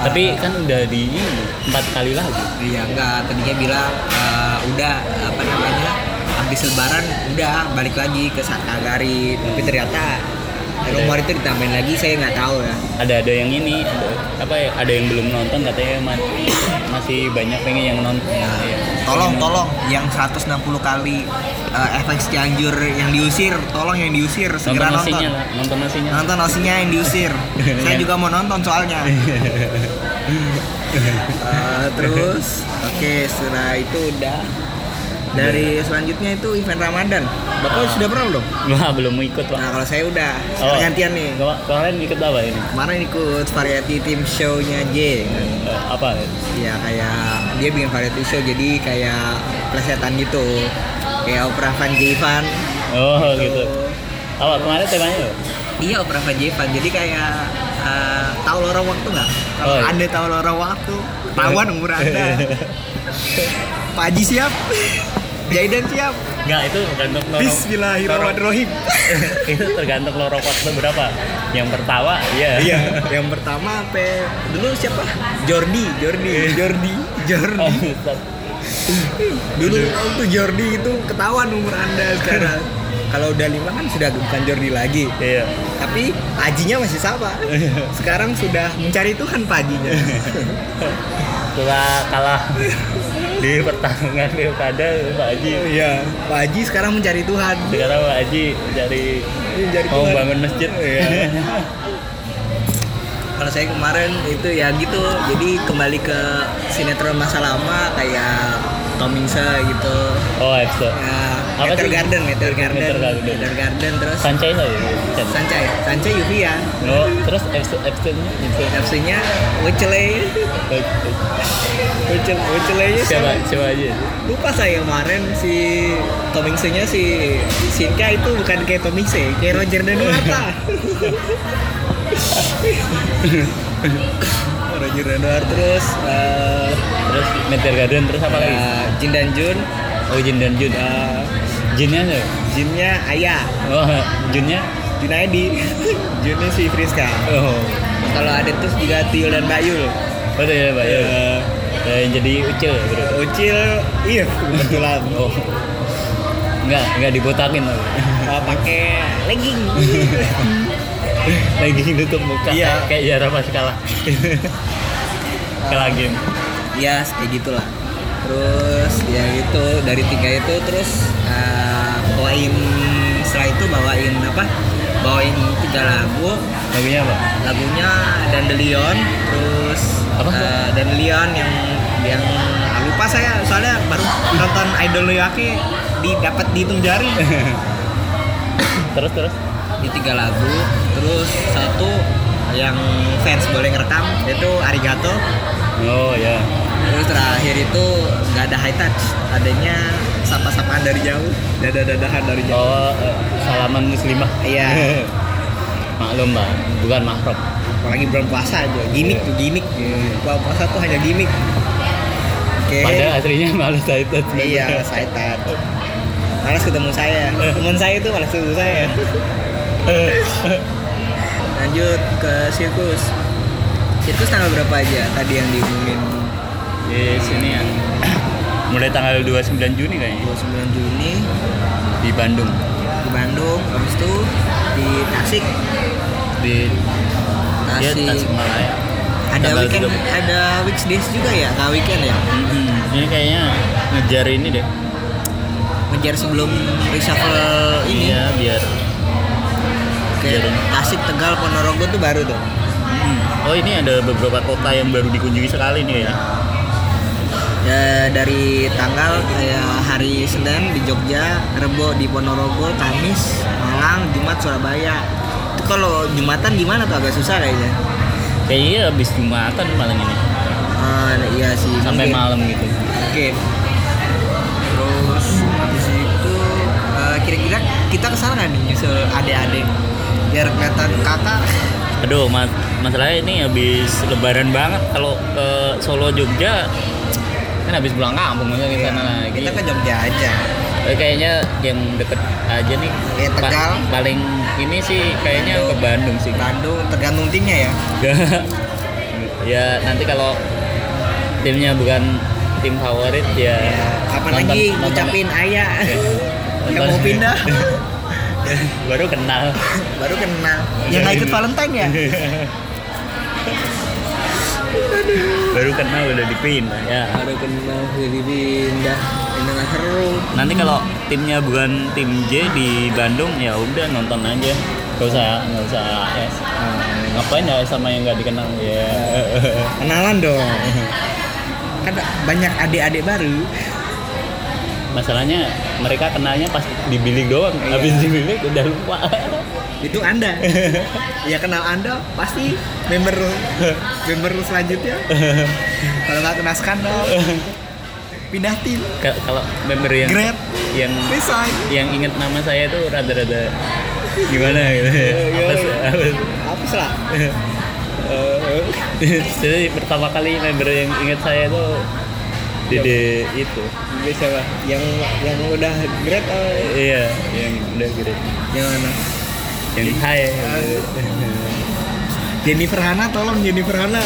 Speaker 2: tapi kan udah di ini, empat kali lagi
Speaker 1: Iya enggak tadinya bilang eh, udah apa namanya habis lebaran udah balik lagi ke Sakagari tapi ternyata rumor itu ditambahin lagi saya nggak tahu ya
Speaker 2: ada ada yang ini ada, apa ya ada yang belum nonton katanya ma- masih banyak pengen yang nonton
Speaker 1: Ya,
Speaker 2: Iya,
Speaker 1: tolong
Speaker 2: pengen
Speaker 1: tolong yang 160 kali eh, FX Cianjur yang diusir tolong yang diusir
Speaker 2: nonton
Speaker 1: segera nonton
Speaker 2: nasinya lah nonton nasinya
Speaker 1: nonton nasinya yang diusir saya juga mau nonton soalnya Eh, terus oke setelah itu udah dari selanjutnya itu event Ramadan bapak
Speaker 2: Ah. Oh.
Speaker 1: sudah pernah belum
Speaker 2: Wah, belum ikut
Speaker 1: nah
Speaker 2: pak
Speaker 1: kalau saya udah Sekarang gantian nih
Speaker 2: kema- kemarin ikut apa ini
Speaker 1: kemarin ikut variety tim show-nya J
Speaker 2: Eh, apa
Speaker 1: ya kayak dia bikin variety show jadi kayak plesetan gitu kayak opera Van Jevan
Speaker 2: oh gitu apa kemarin temanya apa?
Speaker 1: iya opera Van Jevan jadi kayak eh, tahu lorong waktu nggak kalau
Speaker 2: Oh, iya.
Speaker 1: anda tahu lorong waktu tawan umur anda Pak Haji siap Jaidan siap
Speaker 2: Enggak, itu tergantung lorong
Speaker 1: Bismillahirrahmanirrahim
Speaker 2: lorong- itu tergantung lorong waktu berapa yang pertama iya
Speaker 1: iya yang pertama apa dulu siapa Jordi Jordi Jordi Jordi
Speaker 2: Iya. Oh, Ustaz.
Speaker 1: Dulu waktu Jordi itu ketahuan umur anda sekarang. Kalau udah lima kan sudah bukan Jordi lagi.
Speaker 2: iya
Speaker 1: Tapi pajinya masih sama. Sekarang sudah mencari Tuhan pajinya.
Speaker 2: setelah kalah di pertarungan pilkada Pak Haji
Speaker 1: Iya. Pak Haji sekarang mencari Tuhan. Oh,
Speaker 2: sekarang Pak Haji cari
Speaker 1: Mencari
Speaker 2: mau
Speaker 1: Tuhan.
Speaker 2: bangun masjid
Speaker 1: Iya. Kalau saya kemarin itu ya gitu. Jadi kembali ke sinetron masa lama kayak Tomingsa gitu.
Speaker 2: oh Epso
Speaker 1: Ya,
Speaker 2: Apa
Speaker 1: Meter
Speaker 2: sih?
Speaker 1: Garden, Meter Garden,
Speaker 2: Meter Garden.
Speaker 1: Meter Garden, terus
Speaker 2: Sancai lah ya Sancai.
Speaker 1: Sancai, Sancai Yuvia.
Speaker 2: oh terus Epso Epso
Speaker 1: FC-nya Wecele. Wecele, Wecelenya
Speaker 2: siapa
Speaker 1: siapa?
Speaker 2: siapa aja
Speaker 1: Lupa saya kemarin si Tomingse-nya si Sinka itu bukan kayak Tomingse, kayak Roger Danuarta. Roger Danuarta terus eh,
Speaker 2: terus Meteor Garden terus apa lagi
Speaker 1: eh, Jin dan Jun,
Speaker 2: oh Jin dan Jun
Speaker 1: eh,
Speaker 2: Jinnya tuh
Speaker 1: Jinnya Ayah,
Speaker 2: oh Junnya
Speaker 1: Junaidi, Junnya si Friska.
Speaker 2: oh
Speaker 1: Kalau ada terus juga Tiul dan Bayul.
Speaker 2: Oh iya, Pak. Iya.
Speaker 1: Eh,
Speaker 2: Eh, jadi ucil ya, bro.
Speaker 1: Ucil, iya kebetulan.
Speaker 2: Oh. Enggak, enggak dibotakin loh.
Speaker 1: Uh, pakai legging
Speaker 2: Lagi nutup muka
Speaker 1: Iya.
Speaker 2: kayak- ya, kayak Yara pas kalah. kalah game.
Speaker 1: ya kayak gitulah terus ya itu dari tiga itu terus uh, bawain setelah itu bawain apa bawain tiga lagu
Speaker 2: Lagunya apa?
Speaker 1: lagunya Dandelion terus
Speaker 2: Apa?
Speaker 1: uh, Dandelion yang yang ah, lupa saya soalnya baru nonton Idol Noyake di dapat dihitung jari
Speaker 2: Terus terus.
Speaker 1: di tiga lagu terus satu yang fans boleh ngerekam itu Arigato
Speaker 2: Oh ya.
Speaker 1: Terus terakhir itu nggak ada high touch, adanya sapa-sapaan dari jauh, dadah-dadahan dari jauh.
Speaker 2: Oh, eh, salaman muslimah.
Speaker 1: Iya.
Speaker 2: Maklum, Pak. Bukan mahram.
Speaker 1: apalagi bulan puasa aja gimmick
Speaker 2: Iya.
Speaker 1: tuh gimmick bulan puasa tuh hanya gimmick oke
Speaker 2: Pada aslinya malah Titan.
Speaker 1: iya saitan malas ketemu saya teman saya itu malas ketemu saya Iya. lanjut ke sirkus sirkus tanggal berapa aja tadi yang diumumin
Speaker 2: Di sini ya. Mulai tanggal 29 Juni kayaknya
Speaker 1: 29 Juni
Speaker 2: di Bandung.
Speaker 1: di Bandung habis itu di Tasik
Speaker 2: Di ya,
Speaker 1: Tasik
Speaker 2: Tasikmalaya.
Speaker 1: ada
Speaker 2: Tanggal
Speaker 1: weekend
Speaker 2: 30.
Speaker 1: ada weekdays juga ya nggak weekend ya
Speaker 2: Mm-mm. Hmm, Ini kayaknya ngejar ini deh.
Speaker 1: ngejar sebelum reshuffle ini
Speaker 2: Iya, biar
Speaker 1: Oke,
Speaker 2: biar ini.
Speaker 1: Tasik Tegal Ponorogo tuh baru tuh Hmm.
Speaker 2: Mm. Oh, ini ada beberapa kota yang baru dikunjungi sekali nih ya.
Speaker 1: Ya, dari tanggal kayak hari Senin di Jogja, Rebo di Ponorogo, Kamis, Malang, Jumat Surabaya. Itu kalau Jumatan gimana tuh agak susah kayaknya.
Speaker 2: Kayaknya habis Jumatan paling ini.
Speaker 1: Ah, iya sih.
Speaker 2: Sampai
Speaker 1: mungkin.
Speaker 2: malam gitu.
Speaker 1: Oke. Terus habis itu eh, kira-kira kita kesana nggak nih nyusul adik-adik biar kelihatan kakak.
Speaker 2: Aduh, ma- masalahnya ini habis lebaran banget kalau ke Solo Jogja kan habis pulang kampung masa ke sana lagi.
Speaker 1: Iya. Kita ke Jogja aja.
Speaker 2: Eh, kayaknya yang deket aja nih.
Speaker 1: Ya, Tegal.
Speaker 2: paling ini sih kayaknya ke Bandung sih.
Speaker 1: Bandung tergantung timnya ya.
Speaker 2: ya nanti kalau timnya bukan tim favorit ya.
Speaker 1: Ya, kapan
Speaker 2: nonton-
Speaker 1: lagi
Speaker 2: nonton-
Speaker 1: ngucapin ayah
Speaker 2: Ya.
Speaker 1: yang
Speaker 2: Nonton-
Speaker 1: mau pindah
Speaker 2: Baru kenal.
Speaker 1: baru kenal yang nggak ikut Valentine ya
Speaker 2: Baru kenal udah dipindah ya.
Speaker 1: baru kenal jadi pindah pindah nggak seru
Speaker 2: Nanti kalau timnya bukan tim J di Bandung ya udah nonton aja. Gak usah nggak usah AS.
Speaker 1: Hmm.
Speaker 2: Ngapain ya sama yang nggak dikenal ya.
Speaker 1: kenalan dong kan banyak adik-adik baru
Speaker 2: Masalahnya mereka kenalnya pas di bilik doang.
Speaker 1: Iya.
Speaker 2: Habis di bilik udah lupa.
Speaker 1: itu anda ya kenal anda pasti member member selanjutnya kalau nggak kena skandal pindah tim
Speaker 2: Ka- kalau member yang
Speaker 1: Grab.
Speaker 2: yang
Speaker 1: resign
Speaker 2: yang inget nama saya tuh rada-rada gimana gitu. ya. Apa sih? Apa sih?
Speaker 1: hapus lah eh,
Speaker 2: Jadi pertama kali member yang inget saya tuh Dede itu.
Speaker 1: Gue siapa? Yang yang udah grad oh.
Speaker 2: Iya, yang udah gede.
Speaker 1: Yang mana?
Speaker 2: Yang hai.
Speaker 1: Jennifer Hana tolong Jennifer Hana.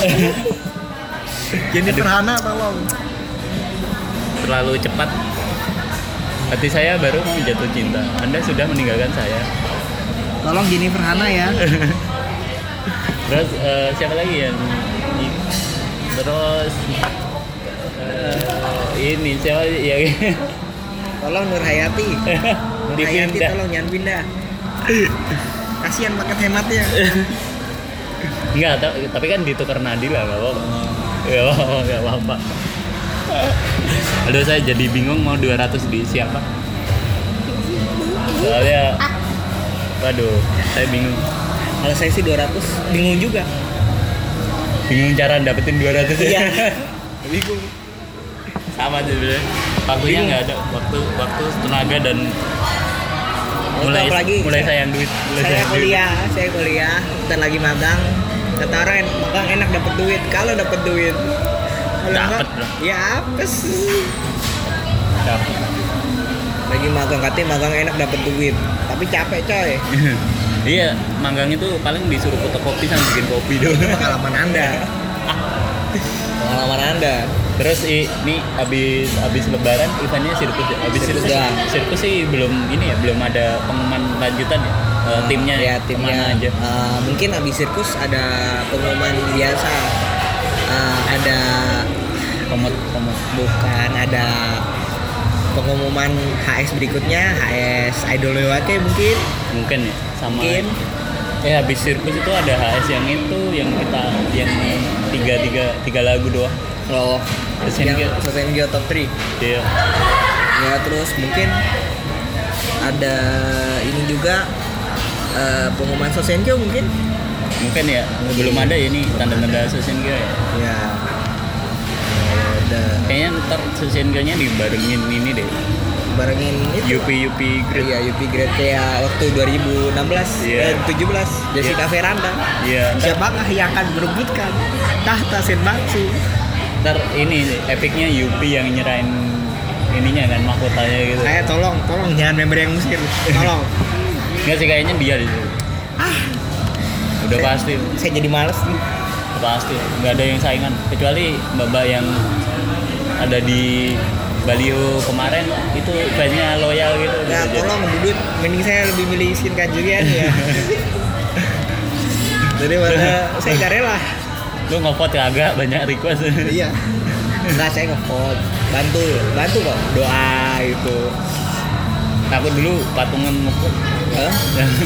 Speaker 1: Jennifer Hana tolong.
Speaker 2: Terlalu cepat. Hati saya baru mau jatuh cinta. Anda sudah meninggalkan saya.
Speaker 1: Tolong Jennifer Hana ya.
Speaker 2: Terus eh, siapa lagi yang di- terus eh, ini siapa Ya, yang
Speaker 1: Tolong Nur Hayati. Nur Hayati
Speaker 2: dipindah?
Speaker 1: tolong jangan pindah. Kasihan paket hematnya.
Speaker 2: Enggak, ta- tapi kan ditukar Nadila nggak apa-apa. Nggak apa-apa, nggak apa-apa. Aduh, saya jadi bingung mau 200 di siapa. Soalnya, waduh, saya bingung.
Speaker 1: Kalau saya sih 200 bingung juga.
Speaker 2: Bingung cara dapetin 200
Speaker 1: Iya.
Speaker 2: ya.
Speaker 1: bingung.
Speaker 2: Sama sih sebenarnya. Waktunya
Speaker 1: Bingung.
Speaker 2: nggak ada, waktu waktu tenaga dan
Speaker 1: Waktu
Speaker 2: mulai
Speaker 1: apalagi
Speaker 2: mulai
Speaker 1: saya,
Speaker 2: sayang duit. Mulai
Speaker 1: saya
Speaker 2: sayang duit.
Speaker 1: kuliah, saya kuliah, bentar lagi magang. Kata orang en- magang enak dapet duit. Kalau dapet duit, kalau
Speaker 2: Dapet
Speaker 1: enggak,
Speaker 2: dong.
Speaker 1: ya apes.
Speaker 2: Dapet.
Speaker 1: lagi magang katanya magang enak dapat duit tapi capek coy
Speaker 2: Iya, manggang itu paling disuruh fotokopi sama bikin kopi doang.
Speaker 1: pengalaman anda pengalaman anda
Speaker 2: Terus i- ini habis habis lebaran eventnya sirkus ya? Habis
Speaker 1: Sirkus
Speaker 2: sirkus,
Speaker 1: ya.
Speaker 2: sirkus sih belum ini ya, belum ada pengumuman lanjutan ya. Eh, timnya
Speaker 1: ya
Speaker 2: kemana
Speaker 1: timnya
Speaker 2: aja.
Speaker 1: Eh, mungkin habis sirkus ada pengumuman biasa Eh, ada
Speaker 2: Komod komod.
Speaker 1: bukan ada pengumuman HS berikutnya HS Idol Lewate mungkin
Speaker 2: Mungkin ya sama
Speaker 1: mungkin
Speaker 2: Eh habis sirkus itu ada HS yang itu yang kita yang tiga tiga tiga lagu doang.
Speaker 1: kalau yang
Speaker 2: Sengkir.
Speaker 1: Sengkir Top 3
Speaker 2: Iya.
Speaker 1: ya terus mungkin ada ini juga eh, pengumuman Sosenjo mungkin
Speaker 2: Mungkin ya belum ada ya ini tanda-tanda Susan Girl ya.
Speaker 1: ya ada
Speaker 2: Kayaknya ntar Susan Girl-nya dibarengin ini deh.
Speaker 1: barengin itu
Speaker 2: Yupi Yupi Grip.
Speaker 1: Iya, UP grade kayak waktu 2016
Speaker 2: Iya.
Speaker 1: dan 17 eh, Jessica
Speaker 2: Iya.
Speaker 1: Veranda.
Speaker 2: Iya.
Speaker 1: Siapakah yang akan merebutkan tahta Senbatsu?
Speaker 2: Iya. Ntar ini epicnya Yupi yang nyerahin ininya kan mahkotanya gitu.
Speaker 1: Saya tolong, tolong jangan member yang musir. Tolong.
Speaker 2: Enggak sih kayaknya dia di situ.
Speaker 1: ah,
Speaker 2: Udah
Speaker 1: Saya-
Speaker 2: pasti,
Speaker 1: saya jadi males nih.
Speaker 2: udah pasti. Nggak ada yang saingan kecuali Mbak yang ada di Baliho kemarin itu fansnya loyal gitu.
Speaker 1: Ya
Speaker 2: Bisa jadi.
Speaker 1: tolong budut, mending saya lebih milih Shinkan Julian ya. Daripada saya nggak rela.
Speaker 2: Lu ngotot kagak banyak request.
Speaker 1: Iya. Enggak, saya ngevote. Bantu, bantu kok. Doa gitu. itu.
Speaker 2: Takut dulu patungan ngotot.
Speaker 1: Hah?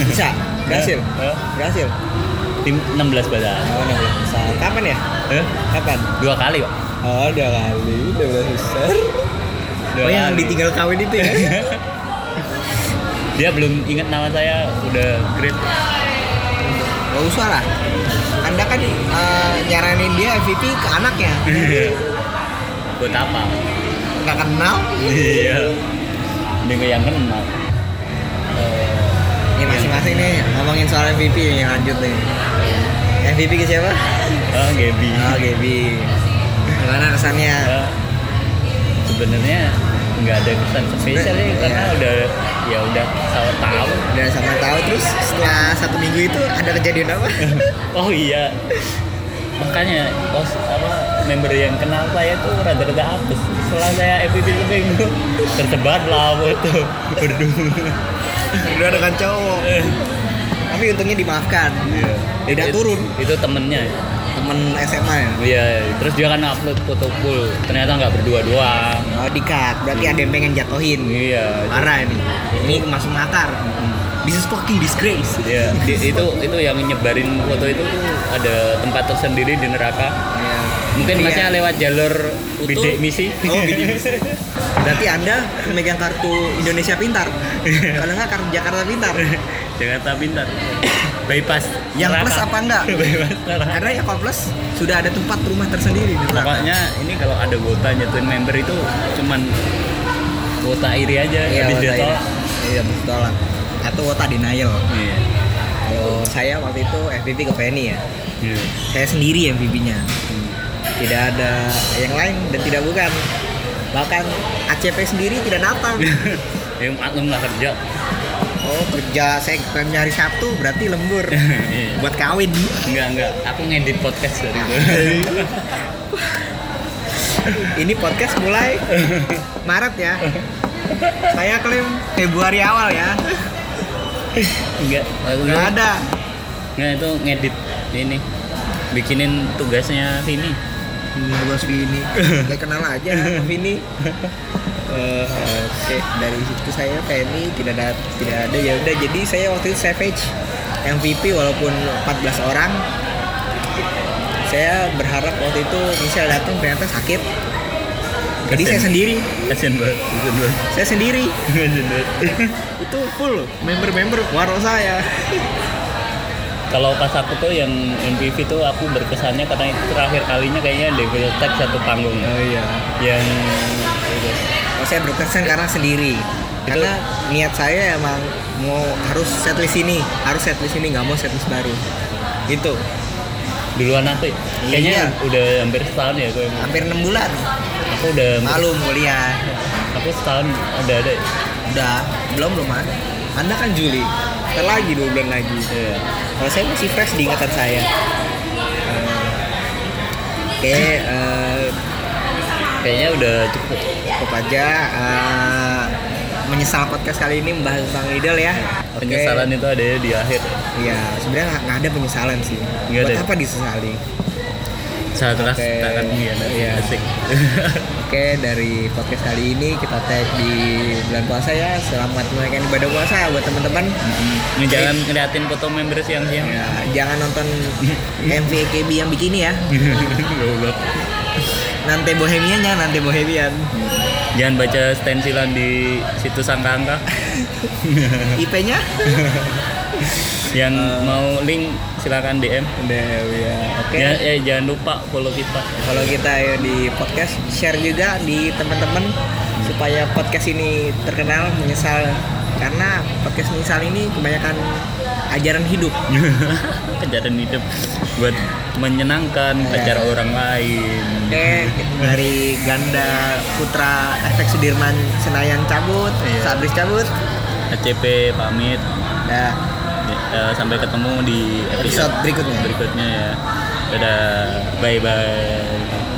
Speaker 1: Bisa, berhasil.
Speaker 2: Hah?
Speaker 1: Berhasil.
Speaker 2: Tim 16 badan.
Speaker 1: Oh, 16 besar. Kapan ya?
Speaker 2: Hah?
Speaker 1: Kapan?
Speaker 2: Dua kali, Pak.
Speaker 1: Oh, udah kali, udah besar.
Speaker 2: Dua
Speaker 1: Oh, yang
Speaker 2: kali.
Speaker 1: ditinggal kawin itu ya?
Speaker 2: Dia belum ingat nama saya, udah great.
Speaker 1: Gak usah lah. Anda kan eh, nyaranin dia MVP ke anaknya.
Speaker 2: Buat apa?
Speaker 1: Nggak kenal.
Speaker 2: Iya. Dengan yang kenal. Eh,
Speaker 1: Ini masing-masing nih ngomongin soal MVP yang lanjut nih. MVP ke siapa?
Speaker 2: Oh, Gaby.
Speaker 1: Oh, Gaby. Gimana kesannya?
Speaker 2: Ya, sebenarnya nggak ada kesan spesial ya, karena
Speaker 1: Iya.
Speaker 2: udah ya udah sama tahu.
Speaker 1: Udah sama tahu terus setelah satu minggu itu ada kejadian apa?
Speaker 2: Oh iya. Makanya pos apa member yang kenal saya tuh rada-rada hapus. Setelah saya FPP seminggu tersebar lah foto berdua.
Speaker 1: Udah dengan cowok. Tapi untungnya dimaafkan.
Speaker 2: Iya.
Speaker 1: Iya. Tidak
Speaker 2: Itu-
Speaker 1: turun.
Speaker 2: Itu temennya. ya.
Speaker 1: Temen SMA ya.
Speaker 2: Iya. Terus dia kan upload foto full. Ternyata nggak berdua doang.
Speaker 1: Oh, dikat. Berarti ada yang pengen jatuhin.
Speaker 2: Iya.
Speaker 1: Parah ini. Ini masuk makar. This is fucking disgrace.
Speaker 2: Iya, di- itu itu yang nyebarin foto itu tuh ada tempat tersendiri di neraka. Mungkin
Speaker 1: Iya.
Speaker 2: masnya lewat jalur bidik misi.
Speaker 1: Oh, bidik misi. Berarti Anda memegang kartu Indonesia Pintar. Kalau nggak kartu Jakarta Pintar.
Speaker 2: Jakarta Pintar. Bypass.
Speaker 1: Yang plus apa enggak?
Speaker 2: Bypass neraka.
Speaker 1: Karena ya kalau plus sudah ada tempat rumah tersendiri di neraka.
Speaker 2: Pokoknya ini kalau ada kuota nyatuin member itu cuman kuota iri aja
Speaker 1: Iya, wota
Speaker 2: habis dia
Speaker 1: ini.
Speaker 2: tolak.
Speaker 1: Iya, betul tolak. Atau wota denial.
Speaker 2: Iya.
Speaker 1: Kalau saya waktu itu FPP ke Penny ya.
Speaker 2: Iya.
Speaker 1: Saya sendiri MVP-nya. Tidak ada yang lain dan tidak bukan. Bahkan ACP sendiri tidak datang.
Speaker 2: Ya maklum lah kerja.
Speaker 1: Oh kerja saya pengen nyari Sabtu berarti lembur
Speaker 2: Iya.
Speaker 1: buat kawin.
Speaker 2: Enggak, enggak. Aku ngedit podcast dari itu.
Speaker 1: Ini podcast mulai Maret ya. Saya klaim Februari awal ya.
Speaker 2: Enggak. Aku
Speaker 1: Gak ada.
Speaker 2: Nggak itu ngedit ini bikinin tugasnya Vini.
Speaker 1: Tugas Vini. Saya kenal aja sama Vini. Eh, Oke dari situ saya Penny tidak ada tidak ada ya udah jadi saya waktu itu Savage MVP walaupun 14 orang. Saya berharap waktu itu Michelle datang ternyata sakit. Jadi saya sendiri.
Speaker 2: Kasian banget, kasian banget,
Speaker 1: saya sendiri
Speaker 2: kasian banget.
Speaker 1: itu full member-member waro saya
Speaker 2: Kalau pas aku tuh yang MPV tuh aku berkesannya karena itu terakhir kalinya kayaknya Devil Tech satu panggung
Speaker 1: oh iya
Speaker 2: yang
Speaker 1: Oh, saya berkesan karena sendiri karena niat saya emang mau harus setlist ini harus setlist ini nggak mau setlist baru gitu
Speaker 2: duluan aku ya. kayaknya
Speaker 1: Iya.
Speaker 2: udah hampir setahun ya gue emang.
Speaker 1: hampir enam bulan
Speaker 2: aku udah hampir-
Speaker 1: malum kuliah
Speaker 2: aku setahun ada ada ya.
Speaker 1: udah belum belum ada anda kan Juli ntar lagi dua bulan lagi
Speaker 2: Iya.
Speaker 1: kalau saya masih fresh di ingatan saya Eh, oke eh,
Speaker 2: kayaknya udah cukup
Speaker 1: cukup aja eh, menyesal podcast kali ini membahas tentang Lidl ya Oke.
Speaker 2: penyesalan itu ada di akhir
Speaker 1: iya sebenarnya nggak- nggak ada penyesalan sih
Speaker 2: Nggak
Speaker 1: buat
Speaker 2: ada.
Speaker 1: apa disesali
Speaker 2: saat keras
Speaker 1: Oke.
Speaker 2: takkan
Speaker 1: Iya.
Speaker 2: ya asik
Speaker 1: oke dari podcast kali ini kita tag di bulan puasa ya selamat menunaikan ibadah puasa buat teman-teman
Speaker 2: jangan ngeliatin foto members yang siang
Speaker 1: Ya, jangan nonton MV EKB yang bikini ya
Speaker 2: Goblok.
Speaker 1: nanti bohemian ya nanti bohemian
Speaker 2: Jangan baca stensilan di situs angka-angka.
Speaker 1: IP-nya
Speaker 2: Yang mau link silakan DM.
Speaker 1: ya oke
Speaker 2: Ya, ya, jangan lupa follow kita.
Speaker 1: kalau kita ya, di podcast share juga di teman-teman supaya podcast ini terkenal menyesal karena podcast menyesal ini kebanyakan ajaran hidup
Speaker 2: kejaran hidup buat menyenangkan acara orang lain
Speaker 1: Oke, dari ganda putra efek Sudirman Senayan cabut,
Speaker 2: Iya.
Speaker 1: Sabris cabut.
Speaker 2: ACP pamit
Speaker 1: Nah,
Speaker 2: Eh, sampai ketemu di episode,
Speaker 1: Episode berikutnya.
Speaker 2: berikutnya ya dadah bye bye